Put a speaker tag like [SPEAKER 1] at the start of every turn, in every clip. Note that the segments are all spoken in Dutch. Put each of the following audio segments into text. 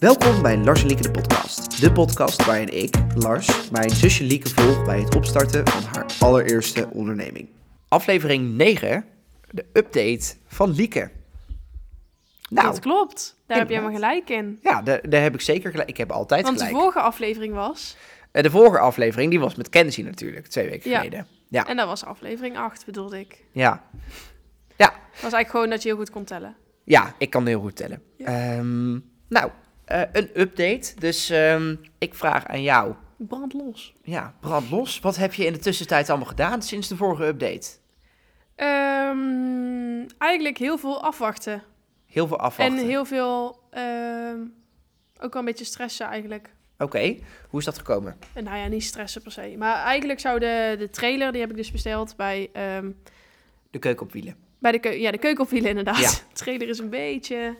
[SPEAKER 1] Welkom bij Lars en Lieke de podcast. De podcast waarin ik, Lars, mijn zusje Lieke volg bij het opstarten van haar allereerste onderneming. Aflevering 9, de update van Lieke. Nou,
[SPEAKER 2] dat klopt. Daar heb jij maar
[SPEAKER 1] inderdaad.
[SPEAKER 2] gelijk in.
[SPEAKER 1] ja, daar, daar heb ik zeker gelijk. Ik heb altijd
[SPEAKER 2] Want de
[SPEAKER 1] gelijk.
[SPEAKER 2] vorige aflevering was,
[SPEAKER 1] Eh, De vorige aflevering, die was met Kenzie natuurlijk, twee weken
[SPEAKER 2] Ja.
[SPEAKER 1] geleden. Ja,
[SPEAKER 2] en dat was aflevering 8 bedoelde ik.
[SPEAKER 1] ja. Ja,
[SPEAKER 2] Was eigenlijk gewoon dat je heel goed kon tellen.
[SPEAKER 1] Ja, ik kan heel goed tellen.
[SPEAKER 2] Ja.
[SPEAKER 1] Ehm, nou, eh, een update. Dus ehm, ik vraag aan jou.
[SPEAKER 2] Brand los.
[SPEAKER 1] Ja, brand los. Wat heb je in de tussentijd allemaal gedaan sinds de vorige update?
[SPEAKER 2] Ehm, eigenlijk heel veel afwachten.
[SPEAKER 1] Heel veel afwachten.
[SPEAKER 2] En heel veel, ehm, ook wel een beetje stressen eigenlijk.
[SPEAKER 1] Oké, hoe is dat gekomen?
[SPEAKER 2] Eh, Nou ja, niet stressen per se. Maar eigenlijk zou de, de trailer, die heb ik dus besteld bij, ehm,
[SPEAKER 1] De keuken op wielen.
[SPEAKER 2] bij de, keu ja, de keukenopwielen inderdaad.
[SPEAKER 1] Ja.
[SPEAKER 2] De trailer is een beetje...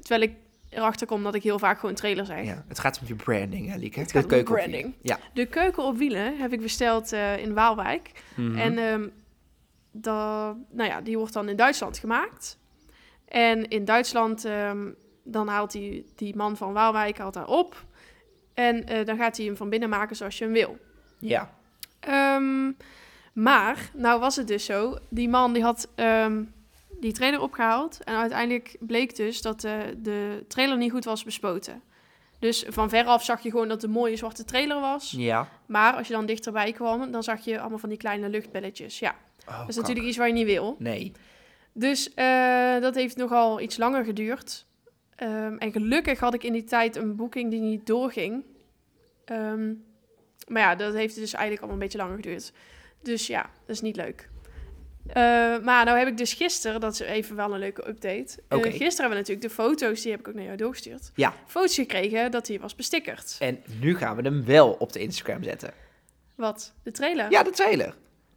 [SPEAKER 2] Terwijl ik erachter kom dat ik heel vaak gewoon trailer zeg.
[SPEAKER 1] Ja, het gaat om je branding, hè, Lieke?
[SPEAKER 2] Het gaat
[SPEAKER 1] De
[SPEAKER 2] om
[SPEAKER 1] keuken op wielen.
[SPEAKER 2] branding.
[SPEAKER 1] Ja.
[SPEAKER 2] De keuken op wielen heb ik besteld eh, in Waalwijk.
[SPEAKER 1] Mhm.
[SPEAKER 2] En ehm, da- nou ja, die wordt dan in Duitsland gemaakt. En in Duitsland, ehm, dan haalt die, die man van Waalwijk haalt daar op. En eh, dan gaat hij hem van binnen maken zoals je hem wil.
[SPEAKER 1] ja.
[SPEAKER 2] Ehm, maar, nou was het dus zo. Die man die had ehm, die trailer opgehaald. En uiteindelijk bleek dus dat eh, de trailer niet goed was bespoten. Dus van veraf zag je gewoon dat het een mooie zwarte trailer was.
[SPEAKER 1] Ja.
[SPEAKER 2] Maar als je dan dichterbij kwam, dan zag je allemaal van die kleine luchtbelletjes. Ja,
[SPEAKER 1] Oh,
[SPEAKER 2] dat is
[SPEAKER 1] kak.
[SPEAKER 2] natuurlijk iets waar je niet wil.
[SPEAKER 1] Nee.
[SPEAKER 2] Dus eh, dat heeft nogal iets langer geduurd. Ehm, en gelukkig had ik in die tijd een boeking die niet doorging. Ehm, maar ja, dat heeft dus eigenlijk allemaal een beetje langer geduurd. Dus ja, dat is niet leuk. Eh, maar nou heb ik dus gisteren, dat is even wel een leuke update. Eh,
[SPEAKER 1] Oké.
[SPEAKER 2] gisteren hebben we natuurlijk de foto's, die heb ik ook naar jou doorgestuurd.
[SPEAKER 1] Ja.
[SPEAKER 2] Foto's gekregen dat hij was bestickerd.
[SPEAKER 1] En nu gaan we hem wel op de Instagram zetten.
[SPEAKER 2] Wat? De trailer?
[SPEAKER 1] Ja, de trailer.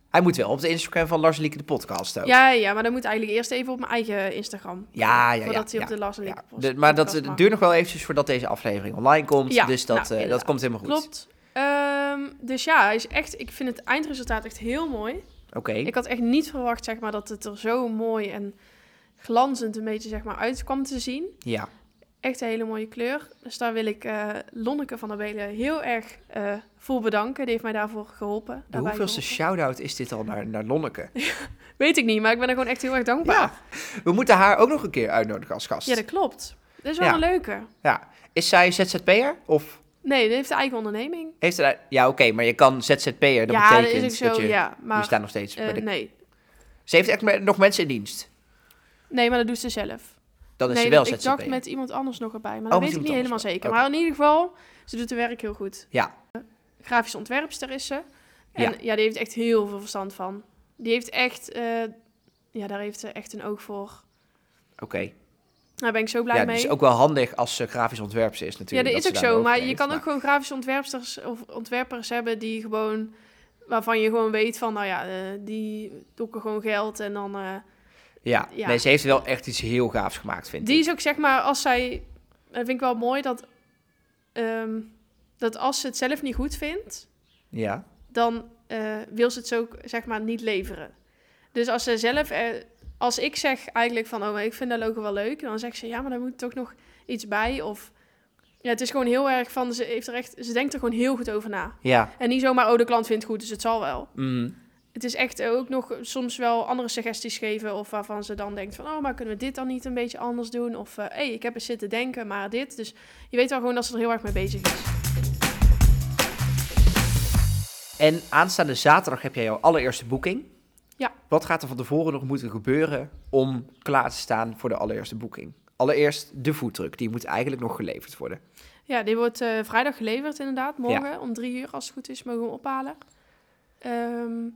[SPEAKER 1] Hij moet wel op de Instagram van Lars en Lieke de podcast ook.
[SPEAKER 2] Ja, ja, maar dan moet eigenlijk eerst even op mijn eigen Instagram.
[SPEAKER 1] Ja, ja, ja,
[SPEAKER 2] Voordat hij op
[SPEAKER 1] ja,
[SPEAKER 2] de Lars en
[SPEAKER 1] Ja,
[SPEAKER 2] Lieke
[SPEAKER 1] de-
[SPEAKER 2] post-
[SPEAKER 1] maar dat
[SPEAKER 2] podcast
[SPEAKER 1] eh,
[SPEAKER 2] mag.
[SPEAKER 1] duurt nog wel eventjes voordat deze aflevering online komt.
[SPEAKER 2] Ja,
[SPEAKER 1] dus dat,
[SPEAKER 2] nou,
[SPEAKER 1] eh, dat
[SPEAKER 2] inderdaad.
[SPEAKER 1] komt helemaal goed.
[SPEAKER 2] Klopt. Ehm, dus ja, hij is echt, ik vind het eindresultaat echt heel mooi.
[SPEAKER 1] Oké,
[SPEAKER 2] Ik had echt niet verwacht zeg maar, dat het er zo mooi en glanzend een beetje zeg maar, uit kwam te zien.
[SPEAKER 1] ja.
[SPEAKER 2] Echt een hele mooie kleur. Dus daar wil ik eh, Lonneke van der Belen heel erg eh, voor bedanken. Die heeft mij daarvoor geholpen.
[SPEAKER 1] De
[SPEAKER 2] daarbij
[SPEAKER 1] hoeveelste
[SPEAKER 2] geholpen.
[SPEAKER 1] shout-out is dit al naar, naar Lonneke?
[SPEAKER 2] Weet ik niet, maar ik ben er gewoon echt heel erg dankbaar.
[SPEAKER 1] Ja, we moeten haar ook nog een keer uitnodigen als gast.
[SPEAKER 2] Ja, dat klopt. Dat is wel
[SPEAKER 1] Ja.
[SPEAKER 2] een leuke.
[SPEAKER 1] Ja. Is zij ZZP'er? Of
[SPEAKER 2] Nee, die heeft een eigen onderneming.
[SPEAKER 1] heeft ze... daar- Ja, oké, maar je kan ZZP'er, dat
[SPEAKER 2] ja,
[SPEAKER 1] betekent
[SPEAKER 2] dat is ook zo,
[SPEAKER 1] je...
[SPEAKER 2] ja.
[SPEAKER 1] je
[SPEAKER 2] Maar
[SPEAKER 1] staat nog steeds
[SPEAKER 2] eh,
[SPEAKER 1] bij de...
[SPEAKER 2] nee.
[SPEAKER 1] Ze heeft echt me- nog mensen in dienst.
[SPEAKER 2] nee, maar dat doet ze zelf.
[SPEAKER 1] Dan is
[SPEAKER 2] nee,
[SPEAKER 1] ze wel
[SPEAKER 2] ik
[SPEAKER 1] ZZP'er.
[SPEAKER 2] dacht met iemand anders nog erbij,
[SPEAKER 1] Oh,
[SPEAKER 2] maar dat
[SPEAKER 1] met
[SPEAKER 2] weet ik
[SPEAKER 1] iemand
[SPEAKER 2] niet helemaal
[SPEAKER 1] anders.
[SPEAKER 2] zeker.
[SPEAKER 1] Oké.
[SPEAKER 2] Maar in ieder geval, ze doet haar werk heel goed.
[SPEAKER 1] Ja.
[SPEAKER 2] Grafisch ontwerpster is ze. En
[SPEAKER 1] Ja.
[SPEAKER 2] ja, die heeft echt heel veel verstand van. Die heeft echt, eh, ja, daar heeft ze echt een oog voor.
[SPEAKER 1] Oké.
[SPEAKER 2] Daar ben ik zo blij
[SPEAKER 1] Ja, dat
[SPEAKER 2] mee.
[SPEAKER 1] is ook wel handig als ze grafisch ontwerpster is
[SPEAKER 2] ja,
[SPEAKER 1] natuurlijk.
[SPEAKER 2] dat is
[SPEAKER 1] ze
[SPEAKER 2] ook
[SPEAKER 1] daar
[SPEAKER 2] zo.
[SPEAKER 1] een
[SPEAKER 2] Maar
[SPEAKER 1] hoofd
[SPEAKER 2] je
[SPEAKER 1] heeft,
[SPEAKER 2] kan ook gewoon grafische ontwerpsters of ontwerpers hebben die gewoon, waarvan je gewoon weet van, nou ja, eh, die dokken gewoon geld en dan... eh,
[SPEAKER 1] Ja.
[SPEAKER 2] ja.
[SPEAKER 1] nee, ze heeft wel echt iets heel gaafs gemaakt, vind
[SPEAKER 2] Die
[SPEAKER 1] ik.
[SPEAKER 2] is ook zeg maar, als zij. Dat vind ik wel mooi dat. ehm, dat als ze het zelf niet goed vindt,
[SPEAKER 1] Ja.
[SPEAKER 2] dan eh, wil ze het zo zeg maar niet leveren. Dus als ze zelf. eh, als ik zeg eigenlijk van, oh, maar ik vind dat logo wel leuk, dan zegt ze ja, maar daar moet toch nog iets bij. Of. Ja, het is gewoon heel erg van, ze, heeft er echt, ze denkt er gewoon heel goed over na.
[SPEAKER 1] Ja.
[SPEAKER 2] En niet zomaar, oh, de klant vindt het goed, dus het zal wel.
[SPEAKER 1] Mm.
[SPEAKER 2] Het is echt ook nog soms wel andere suggesties geven. Of waarvan ze dan denkt van, oh, maar kunnen we dit dan niet een beetje anders doen? Of, hé, hey, ik heb eens zitten denken, maar dit. Dus je weet wel gewoon dat ze er heel erg mee bezig is.
[SPEAKER 1] En aanstaande zaterdag heb jij jouw allereerste boeking.
[SPEAKER 2] Ja.
[SPEAKER 1] Wat gaat er van tevoren nog moeten gebeuren om klaar te staan voor de allereerste boeking? Allereerst de foodtruck, die moet eigenlijk nog geleverd worden.
[SPEAKER 2] Ja, die wordt eh, vrijdag geleverd inderdaad. Morgen om drie uur, als het goed is, mogen we hem ophalen. Ehm,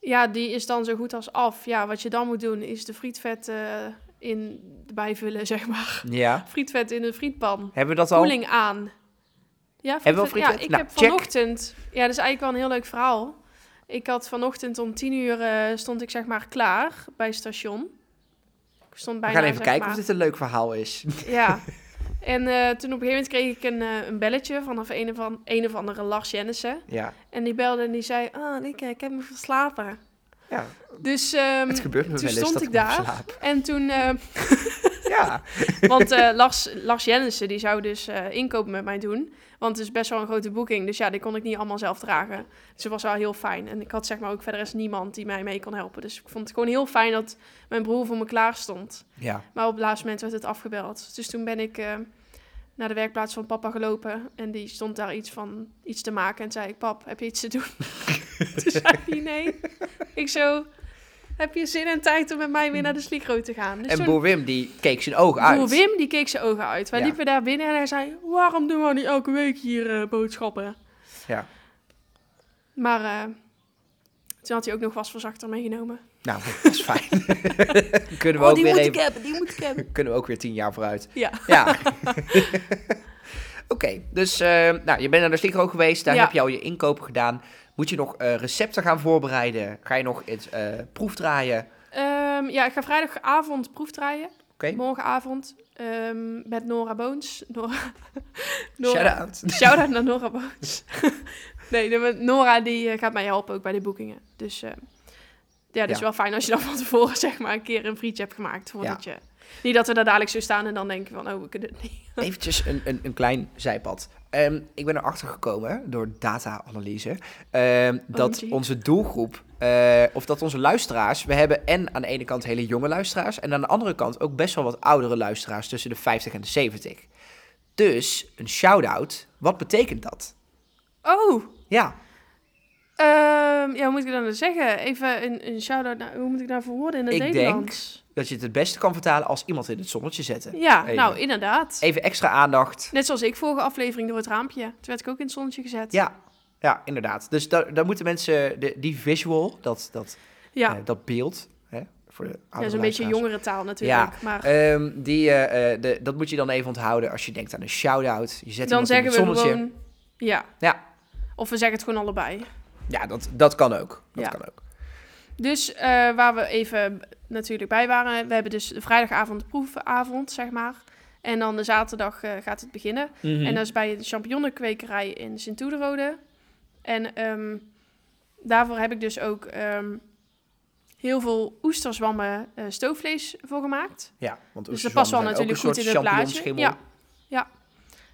[SPEAKER 2] ja, die is dan zo goed als af. Ja, wat je dan moet doen is de frietvet eh, in bijvullen, zeg maar.
[SPEAKER 1] Ja.
[SPEAKER 2] Frietvet in de frietpan.
[SPEAKER 1] Hebben we dat al?
[SPEAKER 2] koeling aan. Ja,
[SPEAKER 1] Hebben we al
[SPEAKER 2] frietvet?
[SPEAKER 1] frietvet?
[SPEAKER 2] Ja, ik
[SPEAKER 1] Nou,
[SPEAKER 2] heb
[SPEAKER 1] check.
[SPEAKER 2] vanochtend... Ja, dat is eigenlijk wel een heel leuk verhaal. Ik had vanochtend om tien uur eh, stond ik zeg maar klaar bij het station. Ik stond
[SPEAKER 1] We
[SPEAKER 2] bijna,
[SPEAKER 1] gaan even
[SPEAKER 2] zeg
[SPEAKER 1] kijken
[SPEAKER 2] maar.
[SPEAKER 1] of dit een leuk verhaal is.
[SPEAKER 2] Ja. En eh, toen op een gegeven moment kreeg ik een, eh, een belletje vanaf een of, an- een of andere Lars Jennissen.
[SPEAKER 1] Ja.
[SPEAKER 2] En die belde en die zei, ah, Lieke, ik heb me verslapen.
[SPEAKER 1] ja.
[SPEAKER 2] Dus ehm,
[SPEAKER 1] Het gebeurt me
[SPEAKER 2] Mm, toen
[SPEAKER 1] wel eens
[SPEAKER 2] stond
[SPEAKER 1] dat
[SPEAKER 2] ik
[SPEAKER 1] ik me
[SPEAKER 2] daar
[SPEAKER 1] verslaap.
[SPEAKER 2] en toen... ehm,
[SPEAKER 1] Ja.
[SPEAKER 2] Want eh, Lars, Lars Jennissen die zou dus eh inkoop met mij doen. Want het is best wel een grote boeking. Dus ja, die kon ik niet allemaal zelf dragen. Dus dat was wel heel fijn. En ik had zeg maar ook verder is niemand die mij mee kon helpen. Dus ik vond het gewoon heel fijn dat mijn broer voor me klaar stond.
[SPEAKER 1] ja.
[SPEAKER 2] Maar op het laatste moment werd het afgebeld. Dus toen ben ik eh, naar de werkplaats van papa gelopen. En die stond daar iets van iets te maken. En zei ik, pap, heb je iets te doen? toen zei hij nee. Ik zo, heb je zin en tijd om met mij weer naar de sligro te gaan? Dus
[SPEAKER 1] En
[SPEAKER 2] toen-
[SPEAKER 1] Boer Wim, die keek zijn ogen uit.
[SPEAKER 2] Boer Wim, die keek zijn ogen uit. Wij
[SPEAKER 1] Ja.
[SPEAKER 2] liepen daar binnen en hij zei... Waarom doen we niet elke week hier eh, boodschappen?
[SPEAKER 1] Ja.
[SPEAKER 2] Maar eh, toen had hij ook nog wasverzachter meegenomen.
[SPEAKER 1] Nou, dat is fijn. kunnen, we
[SPEAKER 2] oh,
[SPEAKER 1] ook
[SPEAKER 2] die
[SPEAKER 1] weer
[SPEAKER 2] moet
[SPEAKER 1] even,
[SPEAKER 2] ik hebben, die moet ik e- hebben.
[SPEAKER 1] kunnen we ook weer tien jaar vooruit.
[SPEAKER 2] Ja.
[SPEAKER 1] Ja. Oké, dus eh, nou, je bent naar de Sligro geweest. Daar
[SPEAKER 2] Ja.
[SPEAKER 1] heb je al je inkopen gedaan. Moet je nog eh, recepten gaan voorbereiden? Ga je nog iets eh, proefdraaien?
[SPEAKER 2] Ehm, ja, ik ga vrijdagavond proefdraaien.
[SPEAKER 1] Oké,
[SPEAKER 2] Morgenavond. ehm, met Nora Boons. Nora,
[SPEAKER 1] shout-out.
[SPEAKER 2] Shout-out naar Nora Boons. nee, de- maar Nora die eh, gaat mij helpen ook bij de boekingen. Dus eh, ja, dat is
[SPEAKER 1] Ja.
[SPEAKER 2] wel fijn als je dan van tevoren zeg maar een keer een frietje hebt gemaakt. Voordat je, niet dat we daar dadelijk zo staan en dan denken van, oh, we kunnen het niet.
[SPEAKER 1] Eventjes een, een, een klein zijpad. Ehm, ik ben erachter gekomen door data-analyse ehm, dat
[SPEAKER 2] OMG.
[SPEAKER 1] onze doelgroep, eh, of dat onze luisteraars, we hebben en aan de ene kant hele jonge luisteraars en aan de andere kant ook best wel wat oudere luisteraars tussen de 50 en de 70. Dus een shout-out, wat betekent dat?
[SPEAKER 2] Oh,
[SPEAKER 1] Ja,
[SPEAKER 2] ehm, ja, hoe moet ik dat nou zeggen? Even een, een shout-out, naar, hoe moet ik dat verwoorden in het
[SPEAKER 1] Ik denk-
[SPEAKER 2] Nederlands?
[SPEAKER 1] dat je het het beste kan vertalen als iemand in het zonnetje zetten.
[SPEAKER 2] Ja,
[SPEAKER 1] Even.
[SPEAKER 2] nou, inderdaad.
[SPEAKER 1] Even extra aandacht.
[SPEAKER 2] Net zoals ik vorige aflevering door het raampje. Toen werd ik ook in het zonnetje gezet.
[SPEAKER 1] Ja, ja inderdaad. Dus daar daar moeten mensen, de, die visual, dat, dat,
[SPEAKER 2] ja.
[SPEAKER 1] eh, dat beeld, hè, voor de
[SPEAKER 2] Ja,
[SPEAKER 1] oudere
[SPEAKER 2] zo'n beetje
[SPEAKER 1] luisteraars.
[SPEAKER 2] jongere taal natuurlijk. maar
[SPEAKER 1] Ehm, die, eh, eh, de, dat moet je dan even onthouden als je denkt aan een shout-out. Je zet
[SPEAKER 2] dan
[SPEAKER 1] iemand in
[SPEAKER 2] zeggen
[SPEAKER 1] het
[SPEAKER 2] we
[SPEAKER 1] zonnetje.
[SPEAKER 2] gewoon... Ja.
[SPEAKER 1] Ja.
[SPEAKER 2] Of we zeggen het gewoon allebei.
[SPEAKER 1] Ja, dat, dat kan ook. Dat
[SPEAKER 2] Ja.
[SPEAKER 1] kan ook.
[SPEAKER 2] Dus eh, waar we even natuurlijk bij waren... We hebben dus de vrijdagavond de proefavond, zeg maar. En dan de zaterdag eh, gaat het beginnen.
[SPEAKER 1] Hmm. Mhm.
[SPEAKER 2] En dat is bij de champignonnenkwekerij in Sint-Oederode. En ehm, daarvoor heb ik dus ook ehm, heel veel oesterzwammen eh, stoofvlees voor gemaakt.
[SPEAKER 1] ja, want
[SPEAKER 2] Dus dat past wel natuurlijk goed in het plaatje.
[SPEAKER 1] Ja.
[SPEAKER 2] Ja, ja.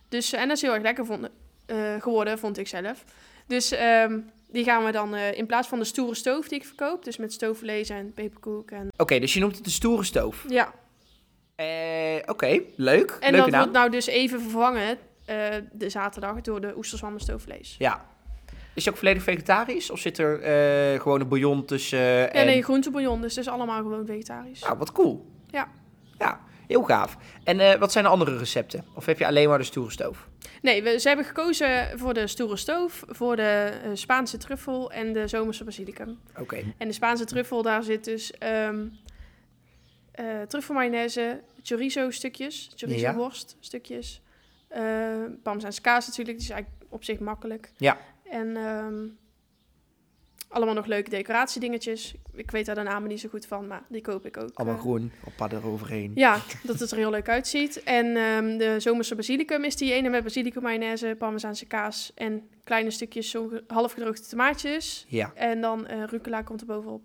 [SPEAKER 2] Dus, eh, en dat is heel erg lekker vond, eh, geworden, vond ik zelf. Dus ehm, die gaan we dan eh, in plaats van de stoere stoof die ik verkoop, dus met stoofvlees en peperkoek en
[SPEAKER 1] Oké, dus je noemt het de stoere stoof.
[SPEAKER 2] ja.
[SPEAKER 1] Eh, Oké, leuk.
[SPEAKER 2] En
[SPEAKER 1] Leuke
[SPEAKER 2] dat
[SPEAKER 1] naam.
[SPEAKER 2] wordt nou dus even vervangen eh, de zaterdag door de oesterzwam en stoofvlees.
[SPEAKER 1] Ja. Is het ook volledig vegetarisch? Of zit er eh, gewoon een bouillon tussen? eh,
[SPEAKER 2] En
[SPEAKER 1] en...
[SPEAKER 2] een groentebouillon, dus dat is allemaal gewoon vegetarisch.
[SPEAKER 1] Nou, wat cool.
[SPEAKER 2] Ja.
[SPEAKER 1] Ja, heel gaaf. En eh, wat zijn de andere recepten? Of heb je alleen maar de stoere stoof?
[SPEAKER 2] Nee, we, ze hebben gekozen voor de stoere stoof, voor de eh, Spaanse truffel en de zomerse basilicum.
[SPEAKER 1] Oké.
[SPEAKER 2] En de Spaanse truffel, daar zit dus ehm eh truffelmayonaise, chorizo stukjes, chorizo
[SPEAKER 1] Ja.
[SPEAKER 2] worst stukjes, eh parmezaanse kaas natuurlijk, die is eigenlijk op zich makkelijk.
[SPEAKER 1] Ja.
[SPEAKER 2] En ehm, allemaal nog leuke decoratiedingetjes. Ik weet daar de namen niet zo goed van, maar die koop ik ook.
[SPEAKER 1] Allemaal
[SPEAKER 2] eh.
[SPEAKER 1] groen, op padden eroverheen.
[SPEAKER 2] Ja, dat het er heel leuk uitziet. En ehm, de zomerse basilicum is die ene met basilicum mayonaise, parmezaanse kaas en kleine stukjes zo- halfgedroogde tomaatjes.
[SPEAKER 1] Ja,
[SPEAKER 2] En dan eh rucola komt er bovenop.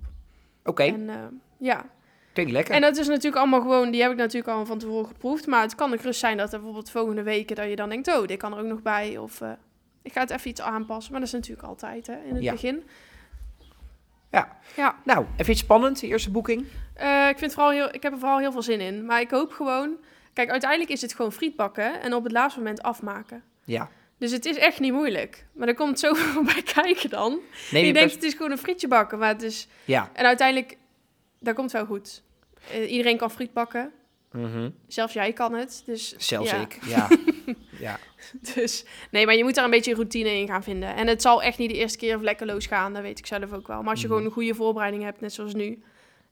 [SPEAKER 1] oké.
[SPEAKER 2] En ehm, ja,
[SPEAKER 1] Klinkt lekker.
[SPEAKER 2] en dat is natuurlijk allemaal gewoon, die heb ik natuurlijk al van tevoren geproefd. Maar het kan ook rust zijn dat er bijvoorbeeld volgende weken dat je dan denkt, oh, dit kan er ook nog bij. Of eh, ik ga het even iets aanpassen. Maar dat is natuurlijk altijd hè, in het
[SPEAKER 1] Ja.
[SPEAKER 2] begin.
[SPEAKER 1] Ja.
[SPEAKER 2] Ja.
[SPEAKER 1] Nou, even iets spannend, de eerste boeking.
[SPEAKER 2] Eh, ik, vind vooral heel, ik heb er vooral heel veel zin in. Maar ik hoop gewoon, kijk, uiteindelijk is het gewoon friet bakken en op het laatste moment afmaken.
[SPEAKER 1] Ja.
[SPEAKER 2] Dus het is echt niet moeilijk. Maar er komt zoveel bij kijken dan.
[SPEAKER 1] Neem
[SPEAKER 2] je
[SPEAKER 1] je
[SPEAKER 2] denkt,
[SPEAKER 1] pers-
[SPEAKER 2] het is gewoon een frietje bakken. Maar het is,
[SPEAKER 1] Ja.
[SPEAKER 2] en uiteindelijk, dat komt wel goed. Eh, iedereen kan friet bakken. Zelfs jij kan het. Dus,
[SPEAKER 1] Zelfs
[SPEAKER 2] ja.
[SPEAKER 1] ik. Ja. ja.
[SPEAKER 2] Dus nee, maar je moet daar een beetje routine in gaan vinden. En het zal echt niet de eerste keer vlekkeloos gaan, dat weet ik zelf ook wel. Maar als je
[SPEAKER 1] Mhm.
[SPEAKER 2] gewoon een goede voorbereiding hebt, net zoals nu,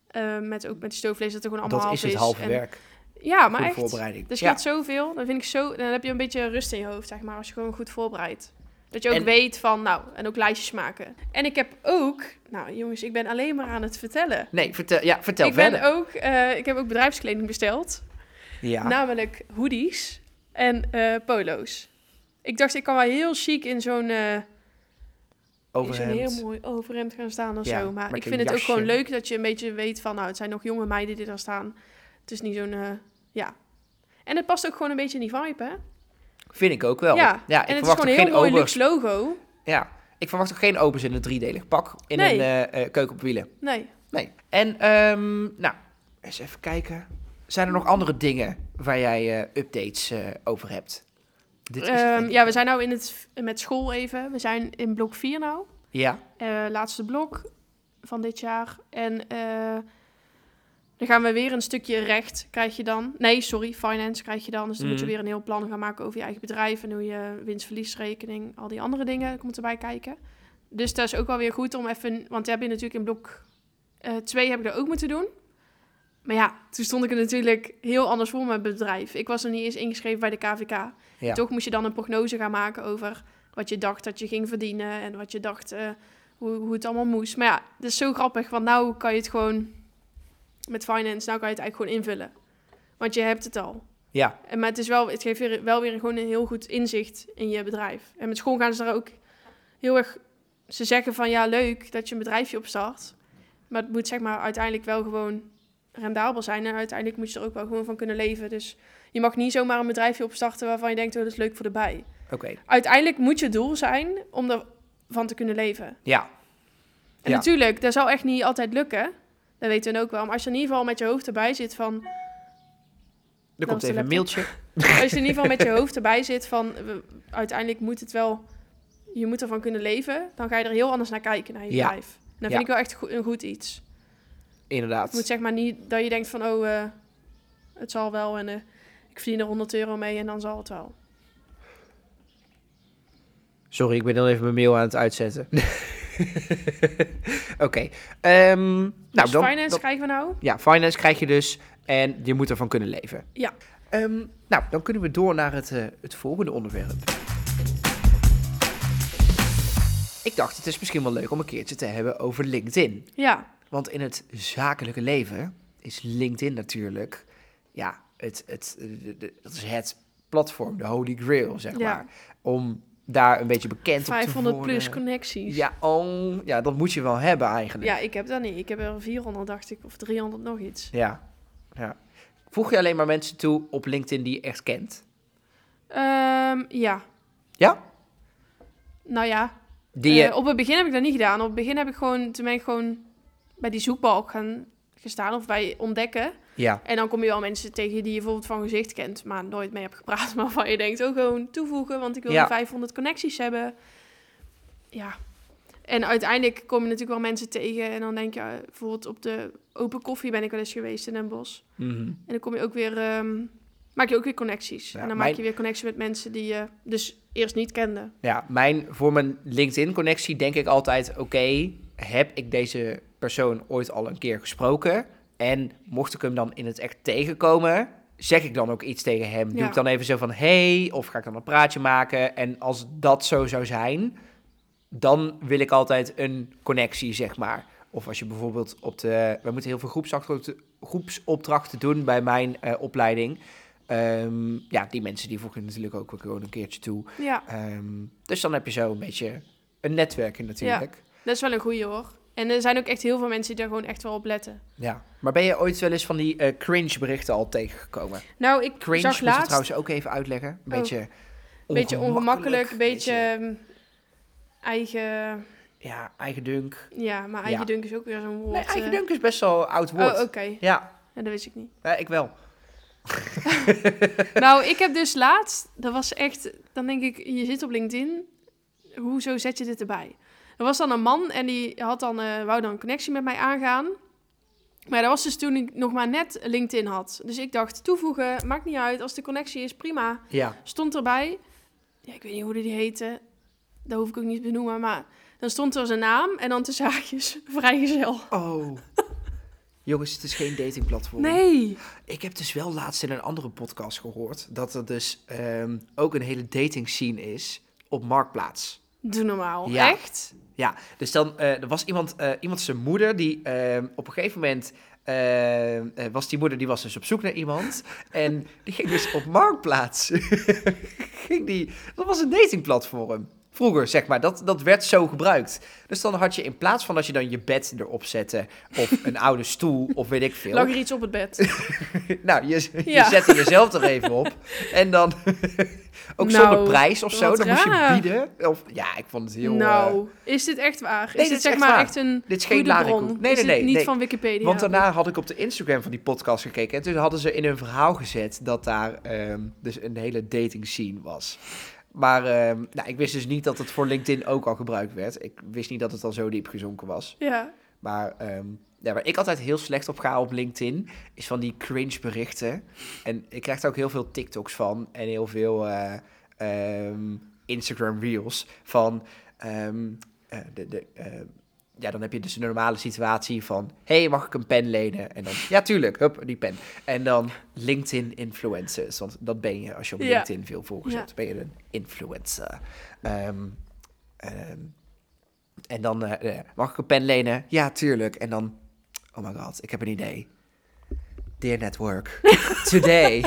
[SPEAKER 2] eh, met, ook met stoofvlees, dat er gewoon allemaal
[SPEAKER 1] Dat
[SPEAKER 2] half
[SPEAKER 1] is het halve werk.
[SPEAKER 2] En, ja, maar
[SPEAKER 1] Goede
[SPEAKER 2] echt.
[SPEAKER 1] voorbereiding.
[SPEAKER 2] Dus je
[SPEAKER 1] ja.
[SPEAKER 2] gaat zoveel, dan, vind ik zo, dan heb je een beetje rust in je hoofd, zeg maar, als je gewoon goed voorbereidt. Dat je ook
[SPEAKER 1] En-
[SPEAKER 2] weet van, nou, en ook lijstjes maken. En ik heb ook, nou jongens, ik ben alleen maar aan het vertellen.
[SPEAKER 1] Nee, vertel, ja, vertel
[SPEAKER 2] ik,
[SPEAKER 1] verder.
[SPEAKER 2] ben ook, eh, ik heb ook bedrijfskleding besteld.
[SPEAKER 1] Ja.
[SPEAKER 2] Nou, Namelijk hoodies en eh, polo's. Ik dacht, ik kan wel heel chic in zo'n eh, in zo'n
[SPEAKER 1] Overhemd.
[SPEAKER 2] heel mooi overhemd gaan staan of
[SPEAKER 1] Ja,
[SPEAKER 2] zo. Maar
[SPEAKER 1] met
[SPEAKER 2] ik
[SPEAKER 1] een
[SPEAKER 2] vind het ook
[SPEAKER 1] jasje.
[SPEAKER 2] gewoon leuk dat je een beetje weet van... nou, het zijn nog jonge meiden die er staan. Het is niet zo'n eh, Ja. En het past ook gewoon een beetje in die vibe, hè?
[SPEAKER 1] Vind ik ook wel.
[SPEAKER 2] Ja,
[SPEAKER 1] ja ik
[SPEAKER 2] en het is
[SPEAKER 1] verwacht
[SPEAKER 2] gewoon
[SPEAKER 1] ook
[SPEAKER 2] een heel
[SPEAKER 1] geen
[SPEAKER 2] mooi
[SPEAKER 1] obers.
[SPEAKER 2] luxe logo.
[SPEAKER 1] Ja, ik verwacht ook geen obers in een driedelig pak in
[SPEAKER 2] Nee.
[SPEAKER 1] een eh, eh, keuken op wielen.
[SPEAKER 2] Nee.
[SPEAKER 1] Nee. En, ehm, nou, eens even kijken. Zijn er nog andere dingen waar jij eh, updates eh, over hebt? Dit is het,
[SPEAKER 2] Ehm,
[SPEAKER 1] denk ik.
[SPEAKER 2] ja, we zijn nou in het, met school even. We zijn in blok 4 nou.
[SPEAKER 1] ja.
[SPEAKER 2] Eh, laatste blok van dit jaar. En eh, dan gaan we weer een stukje recht, krijg je dan. Nee, sorry, finance krijg je dan. Dus dan moet je
[SPEAKER 1] Mhm.
[SPEAKER 2] weer een heel plan gaan maken over je eigen bedrijf. En hoe je winst-verliesrekening, al die andere dingen komt erbij kijken. Dus dat is ook wel weer goed om even... Want heb je natuurlijk in blok 2 heb ik dat ook moeten doen. Maar ja, toen stond ik er natuurlijk heel anders voor met mijn bedrijf. Ik was er niet eens ingeschreven bij de KVK.
[SPEAKER 1] Ja.
[SPEAKER 2] Toch moest je dan een prognose gaan maken over wat je dacht dat je ging verdienen en wat je dacht eh, hoe, hoe het allemaal moest. Maar ja, dat is zo grappig, want nou kan je het gewoon met finance, nou kan je het eigenlijk gewoon invullen. Want je hebt het al.
[SPEAKER 1] Ja.
[SPEAKER 2] En, maar het, is wel, het geeft weer, wel weer gewoon een heel goed inzicht in je bedrijf. En met school gaan ze daar ook heel erg... Ze zeggen van ja, leuk dat je een bedrijfje opstart. Maar het moet zeg maar uiteindelijk wel gewoon rendabel zijn. En uiteindelijk moet je er ook wel gewoon van kunnen leven. Dus je mag niet zomaar een bedrijfje opstarten waarvan je denkt, oh, dat is leuk voor de bij.
[SPEAKER 1] Oké.
[SPEAKER 2] Uiteindelijk moet je doel zijn om ervan te kunnen leven.
[SPEAKER 1] Ja.
[SPEAKER 2] En
[SPEAKER 1] Ja.
[SPEAKER 2] natuurlijk, dat zal echt niet altijd lukken. Dat weten we ook wel. Maar als je in ieder geval met je hoofd erbij zit van...
[SPEAKER 1] Er
[SPEAKER 2] was
[SPEAKER 1] komt
[SPEAKER 2] de
[SPEAKER 1] even een
[SPEAKER 2] laptop.
[SPEAKER 1] mailtje.
[SPEAKER 2] Als je in ieder geval met je hoofd erbij zit van... we- uiteindelijk moet het wel... Je moet ervan kunnen leven. Dan ga je er heel anders naar kijken, naar je
[SPEAKER 1] Ja.
[SPEAKER 2] bedrijf. En dat
[SPEAKER 1] Ja.
[SPEAKER 2] vind ik wel echt goe- een goed iets.
[SPEAKER 1] Inderdaad.
[SPEAKER 2] Het moet zeg maar niet dat je denkt van... Oh, eh, het zal wel en eh, ik verdien er 100 euro mee en dan zal het wel.
[SPEAKER 1] Sorry, ik ben dan even mijn mail aan het uitzetten. Oké. ehm, nou,
[SPEAKER 2] dus
[SPEAKER 1] dan,
[SPEAKER 2] finance
[SPEAKER 1] dan-
[SPEAKER 2] krijgen we nou?
[SPEAKER 1] ja, finance krijg je dus. En je moet ervan kunnen leven.
[SPEAKER 2] Ja.
[SPEAKER 1] Ehm, nou, dan kunnen we door naar het, eh, het volgende onderwerp. Ik dacht, het is misschien wel leuk om een keertje te hebben over LinkedIn.
[SPEAKER 2] Ja.
[SPEAKER 1] Want in het zakelijke leven is LinkedIn natuurlijk, ja, het, het, eh, de- de- dat is het platform, de holy grail, zeg
[SPEAKER 2] Ja.
[SPEAKER 1] maar. Om daar een beetje bekend op te
[SPEAKER 2] 500
[SPEAKER 1] worden.
[SPEAKER 2] plus connecties.
[SPEAKER 1] Ja, oh, ja, dat moet je wel hebben eigenlijk.
[SPEAKER 2] Ja, ik heb dat niet. Ik heb er 400, dacht ik, of 300 nog iets.
[SPEAKER 1] ja. ja. Voeg je alleen maar mensen toe op LinkedIn die je echt kent?
[SPEAKER 2] Ehm, ja.
[SPEAKER 1] Ja?
[SPEAKER 2] Nou ja,
[SPEAKER 1] Die je...
[SPEAKER 2] eh, op het begin heb ik dat niet gedaan. Op het begin heb ik gewoon, toen ben ik gewoon bij die zoekbalk gaan gestaan of bij ontdekken.
[SPEAKER 1] ja.
[SPEAKER 2] En dan kom je wel mensen tegen die je bijvoorbeeld van gezicht kent, maar nooit mee hebt gepraat. Maar van je denkt ook gewoon toevoegen, want ik wil
[SPEAKER 1] Ja.
[SPEAKER 2] 500 connecties hebben. Ja. En uiteindelijk kom je natuurlijk wel mensen tegen. En dan denk je, eh, bijvoorbeeld op de open koffie ben ik wel eens geweest in Den Bosch.
[SPEAKER 1] Mhm.
[SPEAKER 2] En dan kom je ook weer, ehm, maak je ook weer connecties.
[SPEAKER 1] Ja,
[SPEAKER 2] en dan
[SPEAKER 1] mijn-
[SPEAKER 2] maak je weer connecties met mensen die je dus eerst niet kende.
[SPEAKER 1] Ja, mijn, voor mijn LinkedIn-connectie denk ik altijd: oké, heb ik deze persoon ooit al een keer gesproken? En mocht ik hem dan in het echt tegenkomen, zeg ik dan ook iets tegen hem? Doe
[SPEAKER 2] Ja.
[SPEAKER 1] ik dan even zo van: hey, of ga ik dan een praatje maken? En als dat zo zou zijn, dan wil ik altijd een connectie, zeg maar. Of als je bijvoorbeeld op de. We moeten heel veel groepsopdrachten, groepsopdrachten doen bij mijn eh, opleiding. Ehm, ja, die mensen die voegen natuurlijk ook wel gewoon een keertje toe.
[SPEAKER 2] Ja,
[SPEAKER 1] Ehm, dus dan heb je zo een beetje een netwerk in natuurlijk. Ja.
[SPEAKER 2] dat is wel een goeie hoor. En er zijn ook echt heel veel mensen die daar gewoon echt wel op letten.
[SPEAKER 1] Maar ben je ooit wel eens van die eh, cringe berichten al tegengekomen?
[SPEAKER 2] Nou, ik
[SPEAKER 1] Cringe
[SPEAKER 2] zag
[SPEAKER 1] moet je
[SPEAKER 2] laatst Oh.
[SPEAKER 1] trouwens ook even uitleggen. Een beetje
[SPEAKER 2] een beetje ongemakkelijk, een beetje ehm, eigen...
[SPEAKER 1] Ja, eigen dunk.
[SPEAKER 2] Ja, maar eigen dunk is ook weer zo'n woord.
[SPEAKER 1] Nee, eigen
[SPEAKER 2] eh.
[SPEAKER 1] dunk is best wel een oud woord.
[SPEAKER 2] Oh, oké.
[SPEAKER 1] Ja,
[SPEAKER 2] Ja, dat wist ik niet.
[SPEAKER 1] eh, ik wel.
[SPEAKER 2] nou, ik heb dus laatst, dat was echt, dan denk ik, je zit op LinkedIn, hoezo zet je dit erbij? Er was dan een man en die had dan, eh, wou dan een connectie met mij aangaan. Maar dat was dus toen ik nog maar net LinkedIn had. Dus ik dacht, toevoegen, maakt niet uit, als de connectie is, prima.
[SPEAKER 1] Ja.
[SPEAKER 2] Stond erbij, ja, ik weet niet hoe die heette, dat hoef ik ook niet te benoemen, maar dan stond er zijn naam en dan tussen haakjes, vrijgezel.
[SPEAKER 1] Oh. Jongens, het is geen datingplatform.
[SPEAKER 2] Nee.
[SPEAKER 1] Ik heb dus wel laatst in een andere podcast gehoord... dat er dus ehm, ook een hele dating scene is op Marktplaats.
[SPEAKER 2] Doe normaal.
[SPEAKER 1] Ja.
[SPEAKER 2] Echt?
[SPEAKER 1] Ja, dus dan eh, er was iemand, eh, iemand zijn moeder die eh, op een gegeven moment. eh, eh, was die moeder die was dus op zoek naar iemand. En die ging dus op marktplaats. ging die, dat was een datingplatform. Vroeger, zeg maar, dat, dat werd zo gebruikt. Dus dan had je in plaats van dat je dan je bed erop zette, of een oude stoel, of weet ik veel.
[SPEAKER 2] Lag er iets op het bed.
[SPEAKER 1] Nou, je, je
[SPEAKER 2] Ja.
[SPEAKER 1] zette jezelf er even op. En dan ook zonder
[SPEAKER 2] Nou,
[SPEAKER 1] prijs of zo,
[SPEAKER 2] wat
[SPEAKER 1] dan moest je
[SPEAKER 2] raar.
[SPEAKER 1] bieden. Of, ja, ik vond het heel... eh,
[SPEAKER 2] nou, is dit echt waar? Is
[SPEAKER 1] dit
[SPEAKER 2] dit,
[SPEAKER 1] is
[SPEAKER 2] zeg
[SPEAKER 1] echt
[SPEAKER 2] maar
[SPEAKER 1] waar.
[SPEAKER 2] echt een
[SPEAKER 1] Dit is geen
[SPEAKER 2] goede
[SPEAKER 1] larikoek.
[SPEAKER 2] bron?
[SPEAKER 1] Nee,
[SPEAKER 2] is
[SPEAKER 1] nee,
[SPEAKER 2] dit
[SPEAKER 1] nee,
[SPEAKER 2] niet
[SPEAKER 1] nee.
[SPEAKER 2] van Wikipedia?
[SPEAKER 1] Want daarna had ik op de Instagram van die podcast gekeken. En toen hadden ze in hun verhaal gezet dat daar ehm, dus een hele dating scene was. Maar ehm, nou, ik wist dus niet dat het voor LinkedIn ook al gebruikt werd. Ik wist niet dat het al zo diep gezonken was.
[SPEAKER 2] Ja.
[SPEAKER 1] Maar ehm, ja, waar ik altijd heel slecht op ga op LinkedIn, is van die cringe berichten. En ik krijg daar ook heel veel TikToks van en heel veel eh, ehm, Instagram reels van... ehm, eh, de, de, eh, ja, dan heb je dus een normale situatie van... hey, mag ik een pen lenen? En dan, ja, tuurlijk, hup, die pen. En dan LinkedIn-influencers, want dat ben je als je op
[SPEAKER 2] Ja.
[SPEAKER 1] LinkedIn veel volgers
[SPEAKER 2] Ja.
[SPEAKER 1] hebt. Ben je een influencer. Ehm, ehm, en dan, eh, eh, mag ik een pen lenen? Ja, tuurlijk. En dan, oh my god, ik heb een idee. Dear network, today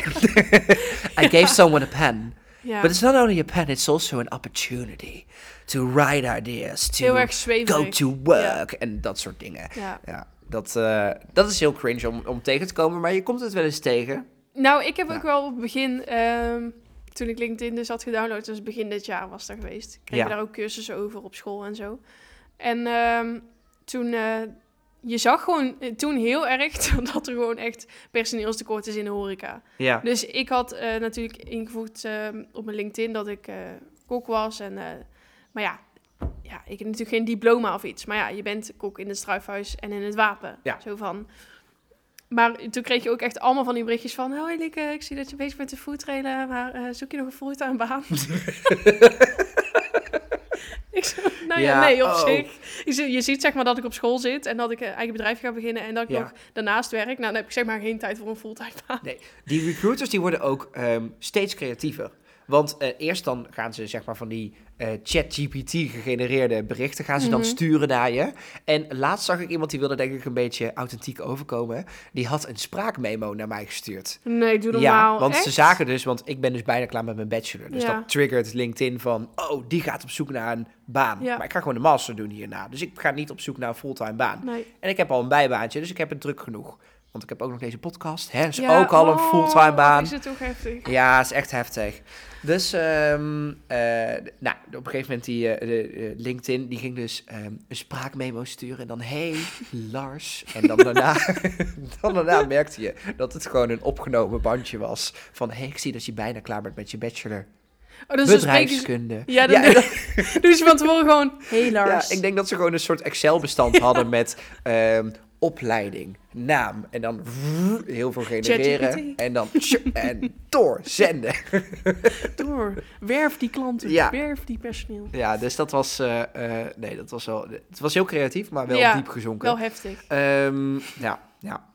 [SPEAKER 1] I gave someone a pen.
[SPEAKER 2] ja.
[SPEAKER 1] But it's not only a pen, it's also an opportunity to write ideas, to
[SPEAKER 2] Heel erg
[SPEAKER 1] go
[SPEAKER 2] zweverig.
[SPEAKER 1] to work en dat soort dingen.
[SPEAKER 2] Ja.
[SPEAKER 1] Ja, dat, eh, dat is heel cringe om, om tegen te komen, maar je komt het wel eens tegen.
[SPEAKER 2] Nou, ik heb
[SPEAKER 1] Ja.
[SPEAKER 2] ook wel op het begin, ehm, toen ik LinkedIn dus had gedownload, dus begin dit jaar was dat geweest. Kreeg
[SPEAKER 1] Ja.
[SPEAKER 2] daar ook cursussen over op school en zo. En ehm, toen, eh, je zag gewoon eh, toen heel erg dat er gewoon echt personeelstekort is in de horeca.
[SPEAKER 1] Ja,
[SPEAKER 2] Dus ik had eh, natuurlijk ingevoegd ehm, op mijn LinkedIn dat ik eh, kok was. En, eh, maar ja, ja, ik heb natuurlijk geen diploma of iets. Maar ja, je bent kok in het struifhuis en in het wapen.
[SPEAKER 1] Ja.
[SPEAKER 2] Zo van. Maar toen kreeg je ook echt allemaal van die berichtjes van... Hoi Lieke, ik zie dat je bezig bent met de foodtrailer, maar eh, zoek je nog een fulltime baan? ik zo, nou ja,
[SPEAKER 1] Ja,
[SPEAKER 2] nee, op
[SPEAKER 1] oh.
[SPEAKER 2] zich. Ik zo, je ziet zeg maar dat ik op school zit en dat ik een eigen bedrijf ga beginnen... en dat ik
[SPEAKER 1] Ja.
[SPEAKER 2] nog daarnaast werk. Nou, dan heb ik zeg maar geen tijd voor een fulltime baan.
[SPEAKER 1] die recruiters die worden ook ehm, steeds creatiever. Want eh, eerst dan gaan ze zeg maar van die eh, ChatGPT gegenereerde berichten gaan ze dan
[SPEAKER 2] Mhm.
[SPEAKER 1] sturen naar je. En laatst zag ik iemand die wilde denk ik een beetje authentiek overkomen. Die had een spraakmemo naar mij gestuurd.
[SPEAKER 2] Nee, doe normaal.
[SPEAKER 1] Ja, want ze
[SPEAKER 2] Echt?
[SPEAKER 1] zaken dus, want ik ben dus bijna klaar met mijn bachelor. Dus
[SPEAKER 2] Ja.
[SPEAKER 1] dat triggert LinkedIn van, oh, die gaat op zoek naar een baan.
[SPEAKER 2] Ja.
[SPEAKER 1] Maar ik ga gewoon de master doen hierna. Dus ik ga niet op zoek naar een fulltime baan.
[SPEAKER 2] Nee.
[SPEAKER 1] En ik heb al een bijbaantje, dus ik heb het druk genoeg. Want ik heb ook nog deze podcast, hè, is
[SPEAKER 2] Ja,
[SPEAKER 1] dus ook al een
[SPEAKER 2] oh,
[SPEAKER 1] fulltime baan.
[SPEAKER 2] Is het toch heftig?
[SPEAKER 1] Ja, is echt heftig. Dus, ehm, eh, d- nou, op een gegeven moment die eh, de, eh, LinkedIn, die ging dus ehm, een spraakmemo sturen. En dan, hey, Lars. En dan daarna, dan daarna merkte je dat het gewoon een opgenomen bandje was. Van, hey, ik zie dat je bijna klaar bent met je bachelor.
[SPEAKER 2] Oh, dus dan spreken ze-
[SPEAKER 1] Bedrijfskunde.
[SPEAKER 2] Ja, dan
[SPEAKER 1] en
[SPEAKER 2] doen doen ze Dus van tevoren gewoon... Hey Lars.
[SPEAKER 1] ja, ik denk dat ze gewoon een soort Excel-bestand hadden met ehm, opleiding, naam en dan vrrr, heel veel genereren.
[SPEAKER 2] ChatGPT.
[SPEAKER 1] En dan tjoe, en doorzenden.
[SPEAKER 2] Door. Werf die klanten.
[SPEAKER 1] Ja.
[SPEAKER 2] Werf die personeel.
[SPEAKER 1] Ja, dus dat was, eh, eh, nee, dat was wel, het was heel creatief, maar wel
[SPEAKER 2] Ja,
[SPEAKER 1] diep gezonken.
[SPEAKER 2] Wel heftig.
[SPEAKER 1] Ehm, ja, ja.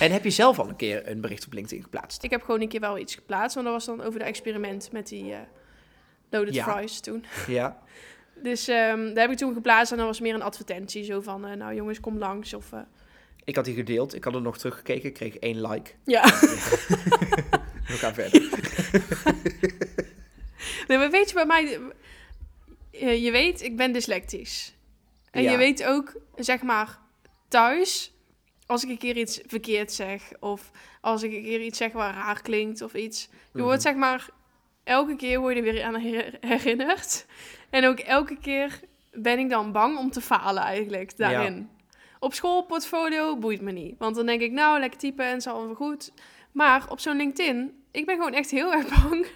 [SPEAKER 1] En heb je zelf al een keer een bericht op LinkedIn geplaatst?
[SPEAKER 2] Ik heb gewoon een keer wel iets geplaatst. Want dat was dan over de experiment met die eh, loaded
[SPEAKER 1] Ja.
[SPEAKER 2] fries toen.
[SPEAKER 1] Ja.
[SPEAKER 2] Dus ehm daar heb ik toen geplaatst. En dat was meer een advertentie. Zo van, eh, nou jongens, kom langs. Of, eh,
[SPEAKER 1] Ik had die gedeeld, ik had er nog teruggekeken, ik kreeg één like.
[SPEAKER 2] ja.
[SPEAKER 1] We gaan verder.
[SPEAKER 2] Nee, maar weet je bij mij... eh, Je weet, ik ben dyslectisch. En
[SPEAKER 1] Ja.
[SPEAKER 2] je weet ook, zeg maar, thuis... Als ik een keer iets verkeerd zeg... of als ik een keer iets zeg waar raar klinkt of iets... Je wordt zeg maar... Elke keer word je er weer aan her- herinnerd. En ook elke keer ben ik dan bang om te falen eigenlijk daarin. Op school, portfolio, boeit me niet. Want dan denk ik, nou, lekker typen en zal wel goed. Maar op zo'n LinkedIn, ik ben gewoon echt heel erg bang...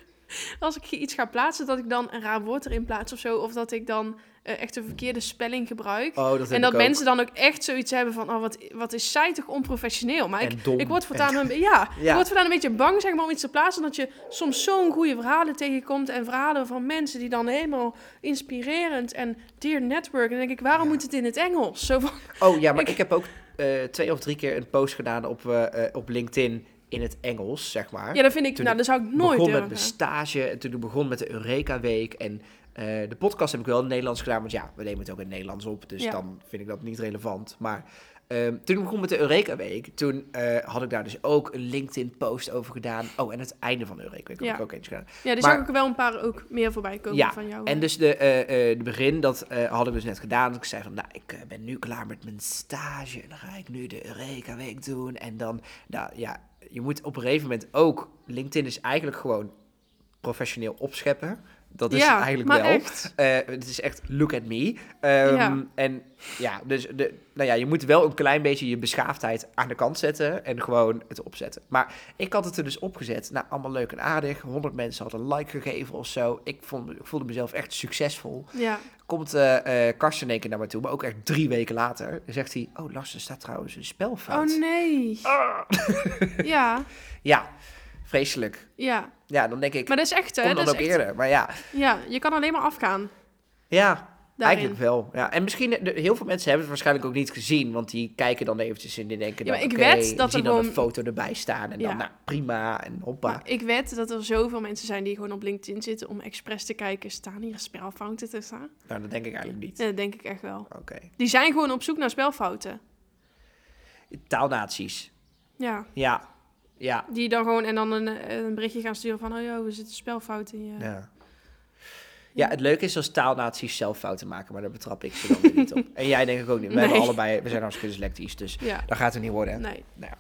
[SPEAKER 2] als ik iets ga plaatsen, dat ik dan een raar woord erin plaats of zo. Of dat ik dan eh, echt een verkeerde spelling gebruik.
[SPEAKER 1] Oh, dat heb
[SPEAKER 2] en dat
[SPEAKER 1] ik ook.
[SPEAKER 2] mensen dan ook echt zoiets hebben van... Oh, wat, wat is zij toch onprofessioneel? Maar ik,
[SPEAKER 1] En dom.
[SPEAKER 2] ik word voortaan een, be- ja,
[SPEAKER 1] Ja.
[SPEAKER 2] ik word voortaan een beetje bang zeg maar, om iets te plaatsen. Dat je soms zo'n goede verhalen tegenkomt. En verhalen van mensen die dan helemaal inspirerend en dear network. En dan denk ik, waarom
[SPEAKER 1] Ja.
[SPEAKER 2] moet het in het Engels? Zo van,
[SPEAKER 1] Oh ja, maar ik,
[SPEAKER 2] Ik-
[SPEAKER 1] heb ook eh, twee of drie keer een post gedaan op, eh, eh, op LinkedIn in het Engels, zeg maar.
[SPEAKER 2] ja, dat vind ik,
[SPEAKER 1] Toen
[SPEAKER 2] nou, dat zou ik nooit
[SPEAKER 1] begon
[SPEAKER 2] durven.
[SPEAKER 1] met mijn stage en toen ik begon met de Eureka Week. En eh, de podcast heb ik wel in het Nederlands gedaan, want ja, we nemen het ook in het Nederlands op. Dus
[SPEAKER 2] Ja.
[SPEAKER 1] dan vind ik dat niet relevant. Maar Ehm, toen ik begon met de Eureka Week, toen eh, had ik daar dus ook een LinkedIn post over gedaan. Oh, en het einde van de Eureka Week heb
[SPEAKER 2] Ja.
[SPEAKER 1] ik ook eentje gedaan.
[SPEAKER 2] Ja, dus
[SPEAKER 1] Maar-
[SPEAKER 2] zag ik er wel een paar ook meer voorbij komen
[SPEAKER 1] Ja,
[SPEAKER 2] van jou.
[SPEAKER 1] En dus de, eh, eh, de begin, dat eh, had ik dus net gedaan. Dus ik zei van, nou, ik eh, ben nu klaar met mijn stage. En dan ga ik nu de Eureka Week doen. En dan, nou ja, je moet op een gegeven moment ook... LinkedIn is eigenlijk gewoon professioneel opscheppen. Dat is
[SPEAKER 2] ja,
[SPEAKER 1] het eigenlijk
[SPEAKER 2] maar
[SPEAKER 1] wel.
[SPEAKER 2] echt.
[SPEAKER 1] Eh, het is echt look at me. Ehm,
[SPEAKER 2] Ja.
[SPEAKER 1] En ja, dus de, nou ja, je moet wel een klein beetje je beschaafdheid aan de kant zetten en gewoon het opzetten. Maar ik had het er dus opgezet. Nou, allemaal leuk en aardig. 100 mensen hadden een like gegeven of zo. Ik, vond, ik voelde mezelf echt succesvol.
[SPEAKER 2] Ja,
[SPEAKER 1] Komt eh eh Karsten in één keer naar me toe, maar ook echt drie weken later. Dan zegt hij, oh Lars, er staat trouwens een
[SPEAKER 2] oh
[SPEAKER 1] spelfout.
[SPEAKER 2] nee.
[SPEAKER 1] Ah.
[SPEAKER 2] ja,
[SPEAKER 1] Ja, vreselijk.
[SPEAKER 2] ja.
[SPEAKER 1] Ja, dan denk ik,
[SPEAKER 2] Maar dat is echt, hè?
[SPEAKER 1] kom dan
[SPEAKER 2] Dat
[SPEAKER 1] ook
[SPEAKER 2] is echt-
[SPEAKER 1] eerder. Maar ja,
[SPEAKER 2] Ja, je kan alleen maar afgaan
[SPEAKER 1] ja,
[SPEAKER 2] daarin.
[SPEAKER 1] Eigenlijk wel, ja. En misschien, eh, de, heel veel mensen hebben het waarschijnlijk ook niet gezien, want die kijken dan eventjes en die denken
[SPEAKER 2] Ja,
[SPEAKER 1] dan,
[SPEAKER 2] maar ik
[SPEAKER 1] oké,
[SPEAKER 2] wed
[SPEAKER 1] en
[SPEAKER 2] dat
[SPEAKER 1] zien
[SPEAKER 2] er
[SPEAKER 1] dan een
[SPEAKER 2] gewoon-
[SPEAKER 1] foto erbij staan en
[SPEAKER 2] Ja.
[SPEAKER 1] dan, nou, prima, en hoppa.
[SPEAKER 2] Maar ik weet dat er zoveel mensen zijn die gewoon op LinkedIn zitten om expres te kijken, staan hier spelfouten te staan?
[SPEAKER 1] Nou, dat denk ik eigenlijk niet.
[SPEAKER 2] Ja, dat denk ik echt wel.
[SPEAKER 1] Oké.
[SPEAKER 2] Die zijn gewoon op zoek naar spelfouten.
[SPEAKER 1] Taalnaties.
[SPEAKER 2] Ja,
[SPEAKER 1] Ja. Ja.
[SPEAKER 2] die dan gewoon en dan een, eh, een berichtje gaan sturen van, oh joh, er zit een spelfout in je.
[SPEAKER 1] Ja. Ja, het leuke is als taalnaties zelf fouten maken, maar daar betrap ik ze dan weer niet op. En jij denk ik ook niet. We
[SPEAKER 2] Nee.
[SPEAKER 1] hebben allebei, we zijn hartstikke dyslectisch, dus
[SPEAKER 2] Ja,
[SPEAKER 1] dat gaat het niet worden.
[SPEAKER 2] nee.
[SPEAKER 1] Nou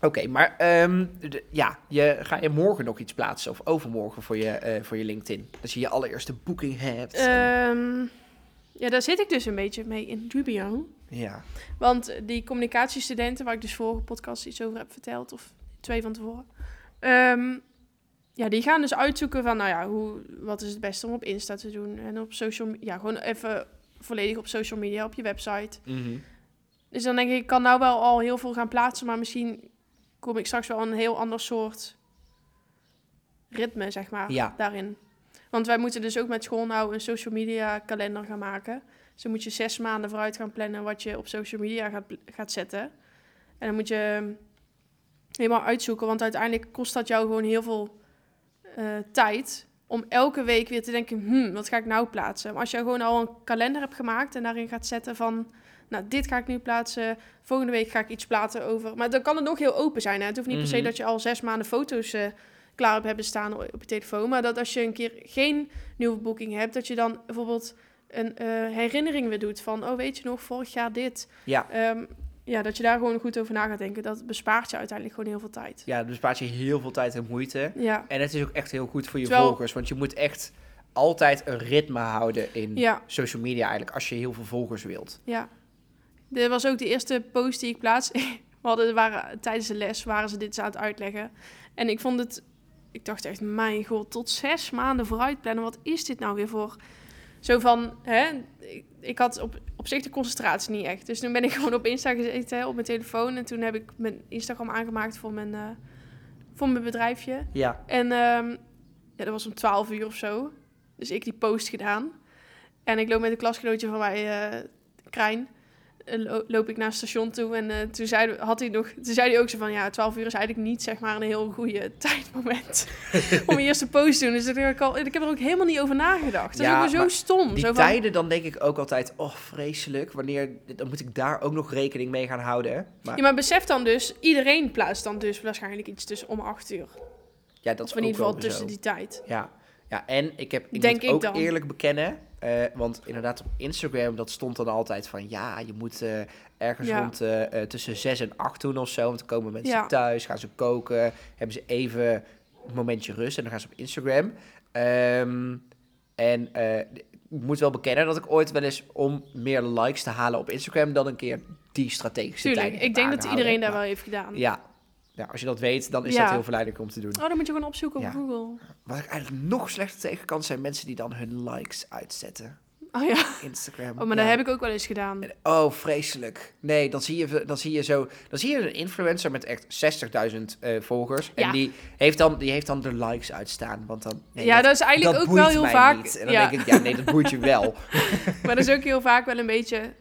[SPEAKER 1] Oké, maar ehm, de- ja, je, ga je morgen nog iets plaatsen of overmorgen voor je, eh, voor je LinkedIn? Dat je je allereerste boeking hebt. en-
[SPEAKER 2] Ehm, ja, daar zit ik dus een beetje mee in dubio.
[SPEAKER 1] ja.
[SPEAKER 2] Want die communicatiestudenten, waar ik dus vorige podcast iets over heb verteld, of twee van tevoren. ehm, ja, die gaan dus uitzoeken van, nou ja, hoe, wat is het beste om op Insta te doen? En op social me- ja, gewoon even volledig op social media, op je website. Dus dan denk ik, ik kan nou wel al heel veel gaan plaatsen, maar misschien kom ik straks wel aan een heel ander soort ritme, zeg maar,
[SPEAKER 1] Ja.
[SPEAKER 2] daarin. Want wij moeten dus ook met school nou een social media kalender gaan maken. Dus dan moet je zes maanden vooruit gaan plannen wat je op social media gaat, gaat zetten. En dan moet je ehm, helemaal uitzoeken, want uiteindelijk kost dat jou gewoon heel veel eh, tijd om elke week weer te denken, hmm, wat ga ik nou plaatsen? Maar als je gewoon al een kalender hebt gemaakt en daarin gaat zetten van, nou, dit ga ik nu plaatsen, volgende week ga ik iets plaatsen over. Maar dan kan het nog heel open zijn. Hè? Het hoeft niet per se
[SPEAKER 1] Mhm.
[SPEAKER 2] dat je al zes maanden foto's eh, klaar hebt hebben staan op je telefoon, maar dat als je een keer geen nieuwe boeking hebt, dat je dan bijvoorbeeld een eh, herinnering weer doet van, oh, weet je nog, vorig jaar dit.
[SPEAKER 1] Ja.
[SPEAKER 2] Ehm, ja, dat je daar gewoon goed over na gaat denken, dat bespaart je uiteindelijk gewoon heel veel tijd.
[SPEAKER 1] ja, dan bespaart je heel veel tijd en moeite.
[SPEAKER 2] Ja,
[SPEAKER 1] En het is ook echt heel goed voor je
[SPEAKER 2] Terwijl-
[SPEAKER 1] volgers, want je moet echt altijd een ritme houden in
[SPEAKER 2] ja,
[SPEAKER 1] social media eigenlijk, als je heel veel volgers wilt.
[SPEAKER 2] ja. Dit was ook de eerste post die ik plaatste. We hadden, waren, tijdens de les waren ze dit aan het uitleggen. En ik vond het, ik dacht echt, mijn god, tot zes maanden vooruit plannen. Wat is dit nou weer voor? Zo van, hè, ik, ik had op, op zich de concentratie niet echt. Dus toen ben ik gewoon op Insta gezeten, hè, op mijn telefoon. En toen heb ik mijn Instagram aangemaakt voor mijn, eh, voor mijn bedrijfje.
[SPEAKER 1] Ja.
[SPEAKER 2] En ehm, ja, dat was om 12 uur of zo. Dus ik die post gedaan. En ik loop met een klasgenootje van mij, eh Krijn, eh, lo- loop ik naar het station toe. En eh, toen, zei, had hij nog, toen zei hij ook zo van, ja, 12 uur is eigenlijk niet zeg maar een heel goede tijdmoment om je eerste post te doen. Dus dat heb ik, al, ik heb er ook helemaal niet over nagedacht. Dat
[SPEAKER 1] Ja,
[SPEAKER 2] is ook weer zo
[SPEAKER 1] maar
[SPEAKER 2] stom.
[SPEAKER 1] Die
[SPEAKER 2] Zo van,
[SPEAKER 1] tijden dan denk ik ook altijd, oh vreselijk, wanneer, dan moet ik daar ook nog rekening mee gaan houden. Maar
[SPEAKER 2] ja, maar besef dan dus, iedereen plaatst dan dus waarschijnlijk iets tussen om 8 uur.
[SPEAKER 1] ja, dat
[SPEAKER 2] Of
[SPEAKER 1] is
[SPEAKER 2] in
[SPEAKER 1] ook
[SPEAKER 2] ieder geval
[SPEAKER 1] wel
[SPEAKER 2] tussen
[SPEAKER 1] zo.
[SPEAKER 2] die tijd.
[SPEAKER 1] Ja. ja, en ik heb ik
[SPEAKER 2] Denk
[SPEAKER 1] moet
[SPEAKER 2] ik
[SPEAKER 1] ook
[SPEAKER 2] dan.
[SPEAKER 1] eerlijk bekennen, eh, want inderdaad op Instagram dat stond dan altijd van ja, je moet eh, ergens
[SPEAKER 2] Ja.
[SPEAKER 1] rond eh, eh, tussen 6 en 8 doen of zo, want dan komen mensen
[SPEAKER 2] Ja.
[SPEAKER 1] thuis, gaan ze koken, hebben ze even een momentje rust en dan gaan ze op Instagram. Ehm, en eh, ik moet wel bekennen dat ik ooit wel eens om meer likes te halen op Instagram dan een keer die strategische
[SPEAKER 2] Tuurlijk,
[SPEAKER 1] tijd heb
[SPEAKER 2] ik denk dat
[SPEAKER 1] aangehouden.
[SPEAKER 2] iedereen daar
[SPEAKER 1] Maar
[SPEAKER 2] wel heeft gedaan.
[SPEAKER 1] Ja. ja, als je dat weet, dan is
[SPEAKER 2] Ja.
[SPEAKER 1] dat heel verleidelijk om te doen.
[SPEAKER 2] Oh, dan moet je gewoon opzoeken op
[SPEAKER 1] Ja.
[SPEAKER 2] Google.
[SPEAKER 1] Wat ik eigenlijk nog slechter tegen kan, zijn mensen die dan hun likes uitzetten.
[SPEAKER 2] Oh ja.
[SPEAKER 1] Instagram.
[SPEAKER 2] Oh, maar dat heb ik ook wel eens gedaan.
[SPEAKER 1] Oh, vreselijk. Nee, dan zie je, dan zie je zo... Dan zie je een influencer met echt 60.000 eh, volgers. En
[SPEAKER 2] Ja.
[SPEAKER 1] die heeft, dan, die heeft dan de likes uitstaan. Want dan... nee,
[SPEAKER 2] ja, dat is eigenlijk
[SPEAKER 1] dat
[SPEAKER 2] ook wel
[SPEAKER 1] boeit
[SPEAKER 2] heel
[SPEAKER 1] mij
[SPEAKER 2] vaak.
[SPEAKER 1] niet. En dan
[SPEAKER 2] Ja,
[SPEAKER 1] denk ik, ja, nee, dat boeit je wel.
[SPEAKER 2] maar dat is ook heel vaak wel een beetje.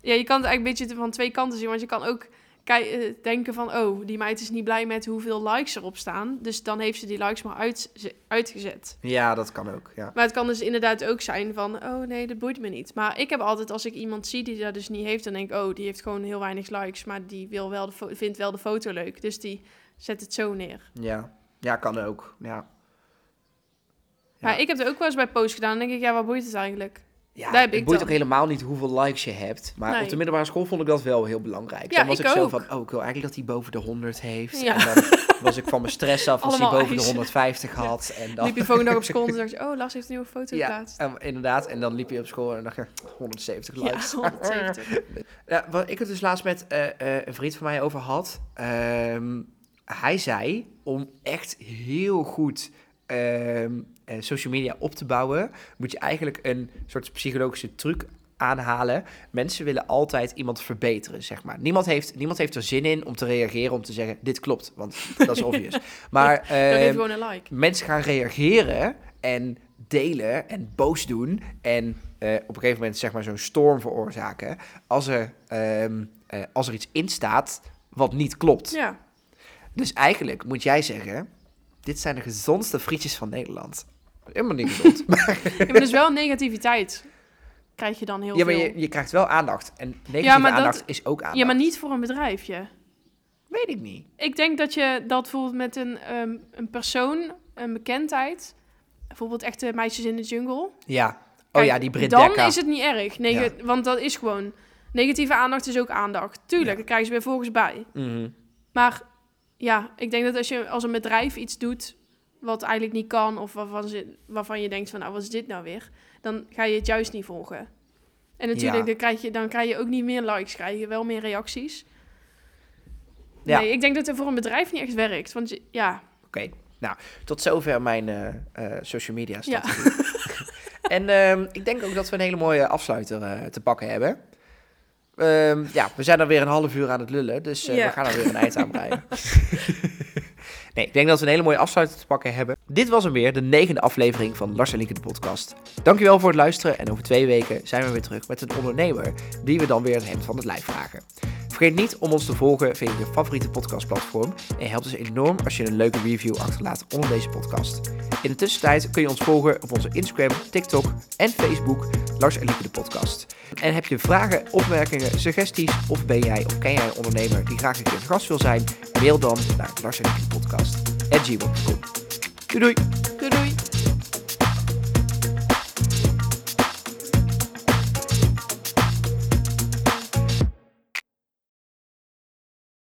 [SPEAKER 2] Ja, je kan het eigenlijk een beetje van twee kanten zien. Want je kan ook kei- eh, denken van, oh, die meid is niet blij met hoeveel likes erop staan. Dus dan heeft ze die likes maar uit, ze- uitgezet.
[SPEAKER 1] Ja, dat kan ook. Ja.
[SPEAKER 2] Maar het kan dus inderdaad ook zijn van, oh nee, dat boeit me niet. Maar ik heb altijd, als ik iemand zie die dat dus niet heeft, dan denk ik, oh, die heeft gewoon heel weinig likes, maar die wil wel de fo- vindt wel de foto leuk. Dus die zet het zo neer.
[SPEAKER 1] Ja. ja, kan ook. Ja. Ja.
[SPEAKER 2] Maar ik heb het ook wel eens bij posts gedaan. Dan denk ik, ja, wat boeit het eigenlijk?
[SPEAKER 1] Ja,
[SPEAKER 2] Daar heb
[SPEAKER 1] het
[SPEAKER 2] ik
[SPEAKER 1] boeit
[SPEAKER 2] dan.
[SPEAKER 1] ook helemaal niet hoeveel likes je hebt. Maar
[SPEAKER 2] Nee.
[SPEAKER 1] op de middelbare school vond ik dat wel heel belangrijk.
[SPEAKER 2] Ja,
[SPEAKER 1] dan was ik,
[SPEAKER 2] ik
[SPEAKER 1] zo
[SPEAKER 2] ook.
[SPEAKER 1] van, oh, ik wil eigenlijk dat hij boven de 100 heeft.
[SPEAKER 2] Ja.
[SPEAKER 1] En dan was ik van mijn stress af als hij
[SPEAKER 2] Allemaal
[SPEAKER 1] boven de
[SPEAKER 2] eisen.
[SPEAKER 1] 150 had. En dan,
[SPEAKER 2] Liep je volgende dag op school en dacht je, oh, Lars heeft een nieuwe foto
[SPEAKER 1] ja,
[SPEAKER 2] geplaatst.
[SPEAKER 1] en- inderdaad. En dan liep je op school en dacht je, 170
[SPEAKER 2] Ja,
[SPEAKER 1] likes.
[SPEAKER 2] 170.
[SPEAKER 1] Ja, wat ik het dus laatst met eh, eh, een vriend van mij over had. ehm, hij zei om echt heel goed ehm, eh, social media op te bouwen, moet je eigenlijk een soort psychologische truc aanhalen. Mensen willen altijd iemand verbeteren, zeg maar. Niemand heeft, niemand heeft er zin in om te reageren, om te zeggen: dit klopt, want dat is obvious. Maar
[SPEAKER 2] Dan geef je
[SPEAKER 1] ehm,
[SPEAKER 2] gewoon een like.
[SPEAKER 1] mensen gaan reageren en delen en boos doen en eh, op een gegeven moment zeg maar zo'n storm veroorzaken als er, ehm, eh, als er iets in staat wat niet klopt.
[SPEAKER 2] Ja,
[SPEAKER 1] Dus eigenlijk moet jij zeggen, dit zijn de gezondste frietjes van Nederland. Helemaal niet gezond.
[SPEAKER 2] Ja, maar dus wel negativiteit krijg je dan heel
[SPEAKER 1] ja, maar
[SPEAKER 2] veel.
[SPEAKER 1] je, je krijgt wel aandacht. En negatieve
[SPEAKER 2] Ja, maar dat-
[SPEAKER 1] aandacht is ook aandacht.
[SPEAKER 2] Ja, maar niet voor een bedrijfje.
[SPEAKER 1] Weet ik niet.
[SPEAKER 2] Ik denk dat je dat bijvoorbeeld met een, ehm, een persoon, een bekendheid, bijvoorbeeld echte meisjes in de jungle.
[SPEAKER 1] Ja. Oh
[SPEAKER 2] Kijk,
[SPEAKER 1] ja, die Brit
[SPEAKER 2] Dan
[SPEAKER 1] Dekker.
[SPEAKER 2] is het niet erg, Neg-
[SPEAKER 1] Ja.
[SPEAKER 2] want dat is gewoon... Negatieve aandacht is ook aandacht. Tuurlijk,
[SPEAKER 1] Ja.
[SPEAKER 2] daar krijgen ze weer volgens bij.
[SPEAKER 1] Mhm.
[SPEAKER 2] Maar ja, ik denk dat als je als een bedrijf iets doet wat eigenlijk niet kan, of waarvan, ze, waarvan je denkt van nou, wat is dit nou weer? Dan ga je het juist niet volgen. En natuurlijk,
[SPEAKER 1] Ja.
[SPEAKER 2] dan, krijg je, dan krijg je ook niet meer likes, krijg je wel meer reacties.
[SPEAKER 1] Ja.
[SPEAKER 2] Nee, ik denk dat het voor een bedrijf niet echt werkt. Want je- ja,
[SPEAKER 1] Oké, nou, tot zover mijn eh, eh, social media
[SPEAKER 2] ja.
[SPEAKER 1] strategie. En ehm, ik denk ook dat we een hele mooie afsluiter eh, te pakken hebben. Ehm, ja, we zijn alweer een half uur aan het lullen, dus eh,
[SPEAKER 2] Ja.
[SPEAKER 1] we gaan er weer een eind aan breien. nee, ik denk dat we een hele mooie afsluiter te pakken hebben. Dit was hem weer, de negende aflevering van Lars en Lieke de podcast. Dankjewel voor het luisteren en over twee weken zijn we weer terug met een ondernemer die we dan weer het hemd van het lijf vragen. Vergeet niet om ons te volgen via je favoriete podcastplatform en helpt ons enorm als je een leuke review achterlaat onder deze podcast. In de tussentijd kun je ons volgen op onze Instagram, TikTok en Facebook Lars en Lieke de podcast. En heb je vragen, opmerkingen, suggesties of ben jij of ken jij een ondernemer die graag een keer te gast wil zijn? Mail dan naar Lars en Lieke de podcast at gmail.com. Doei doei!
[SPEAKER 2] Doei doei.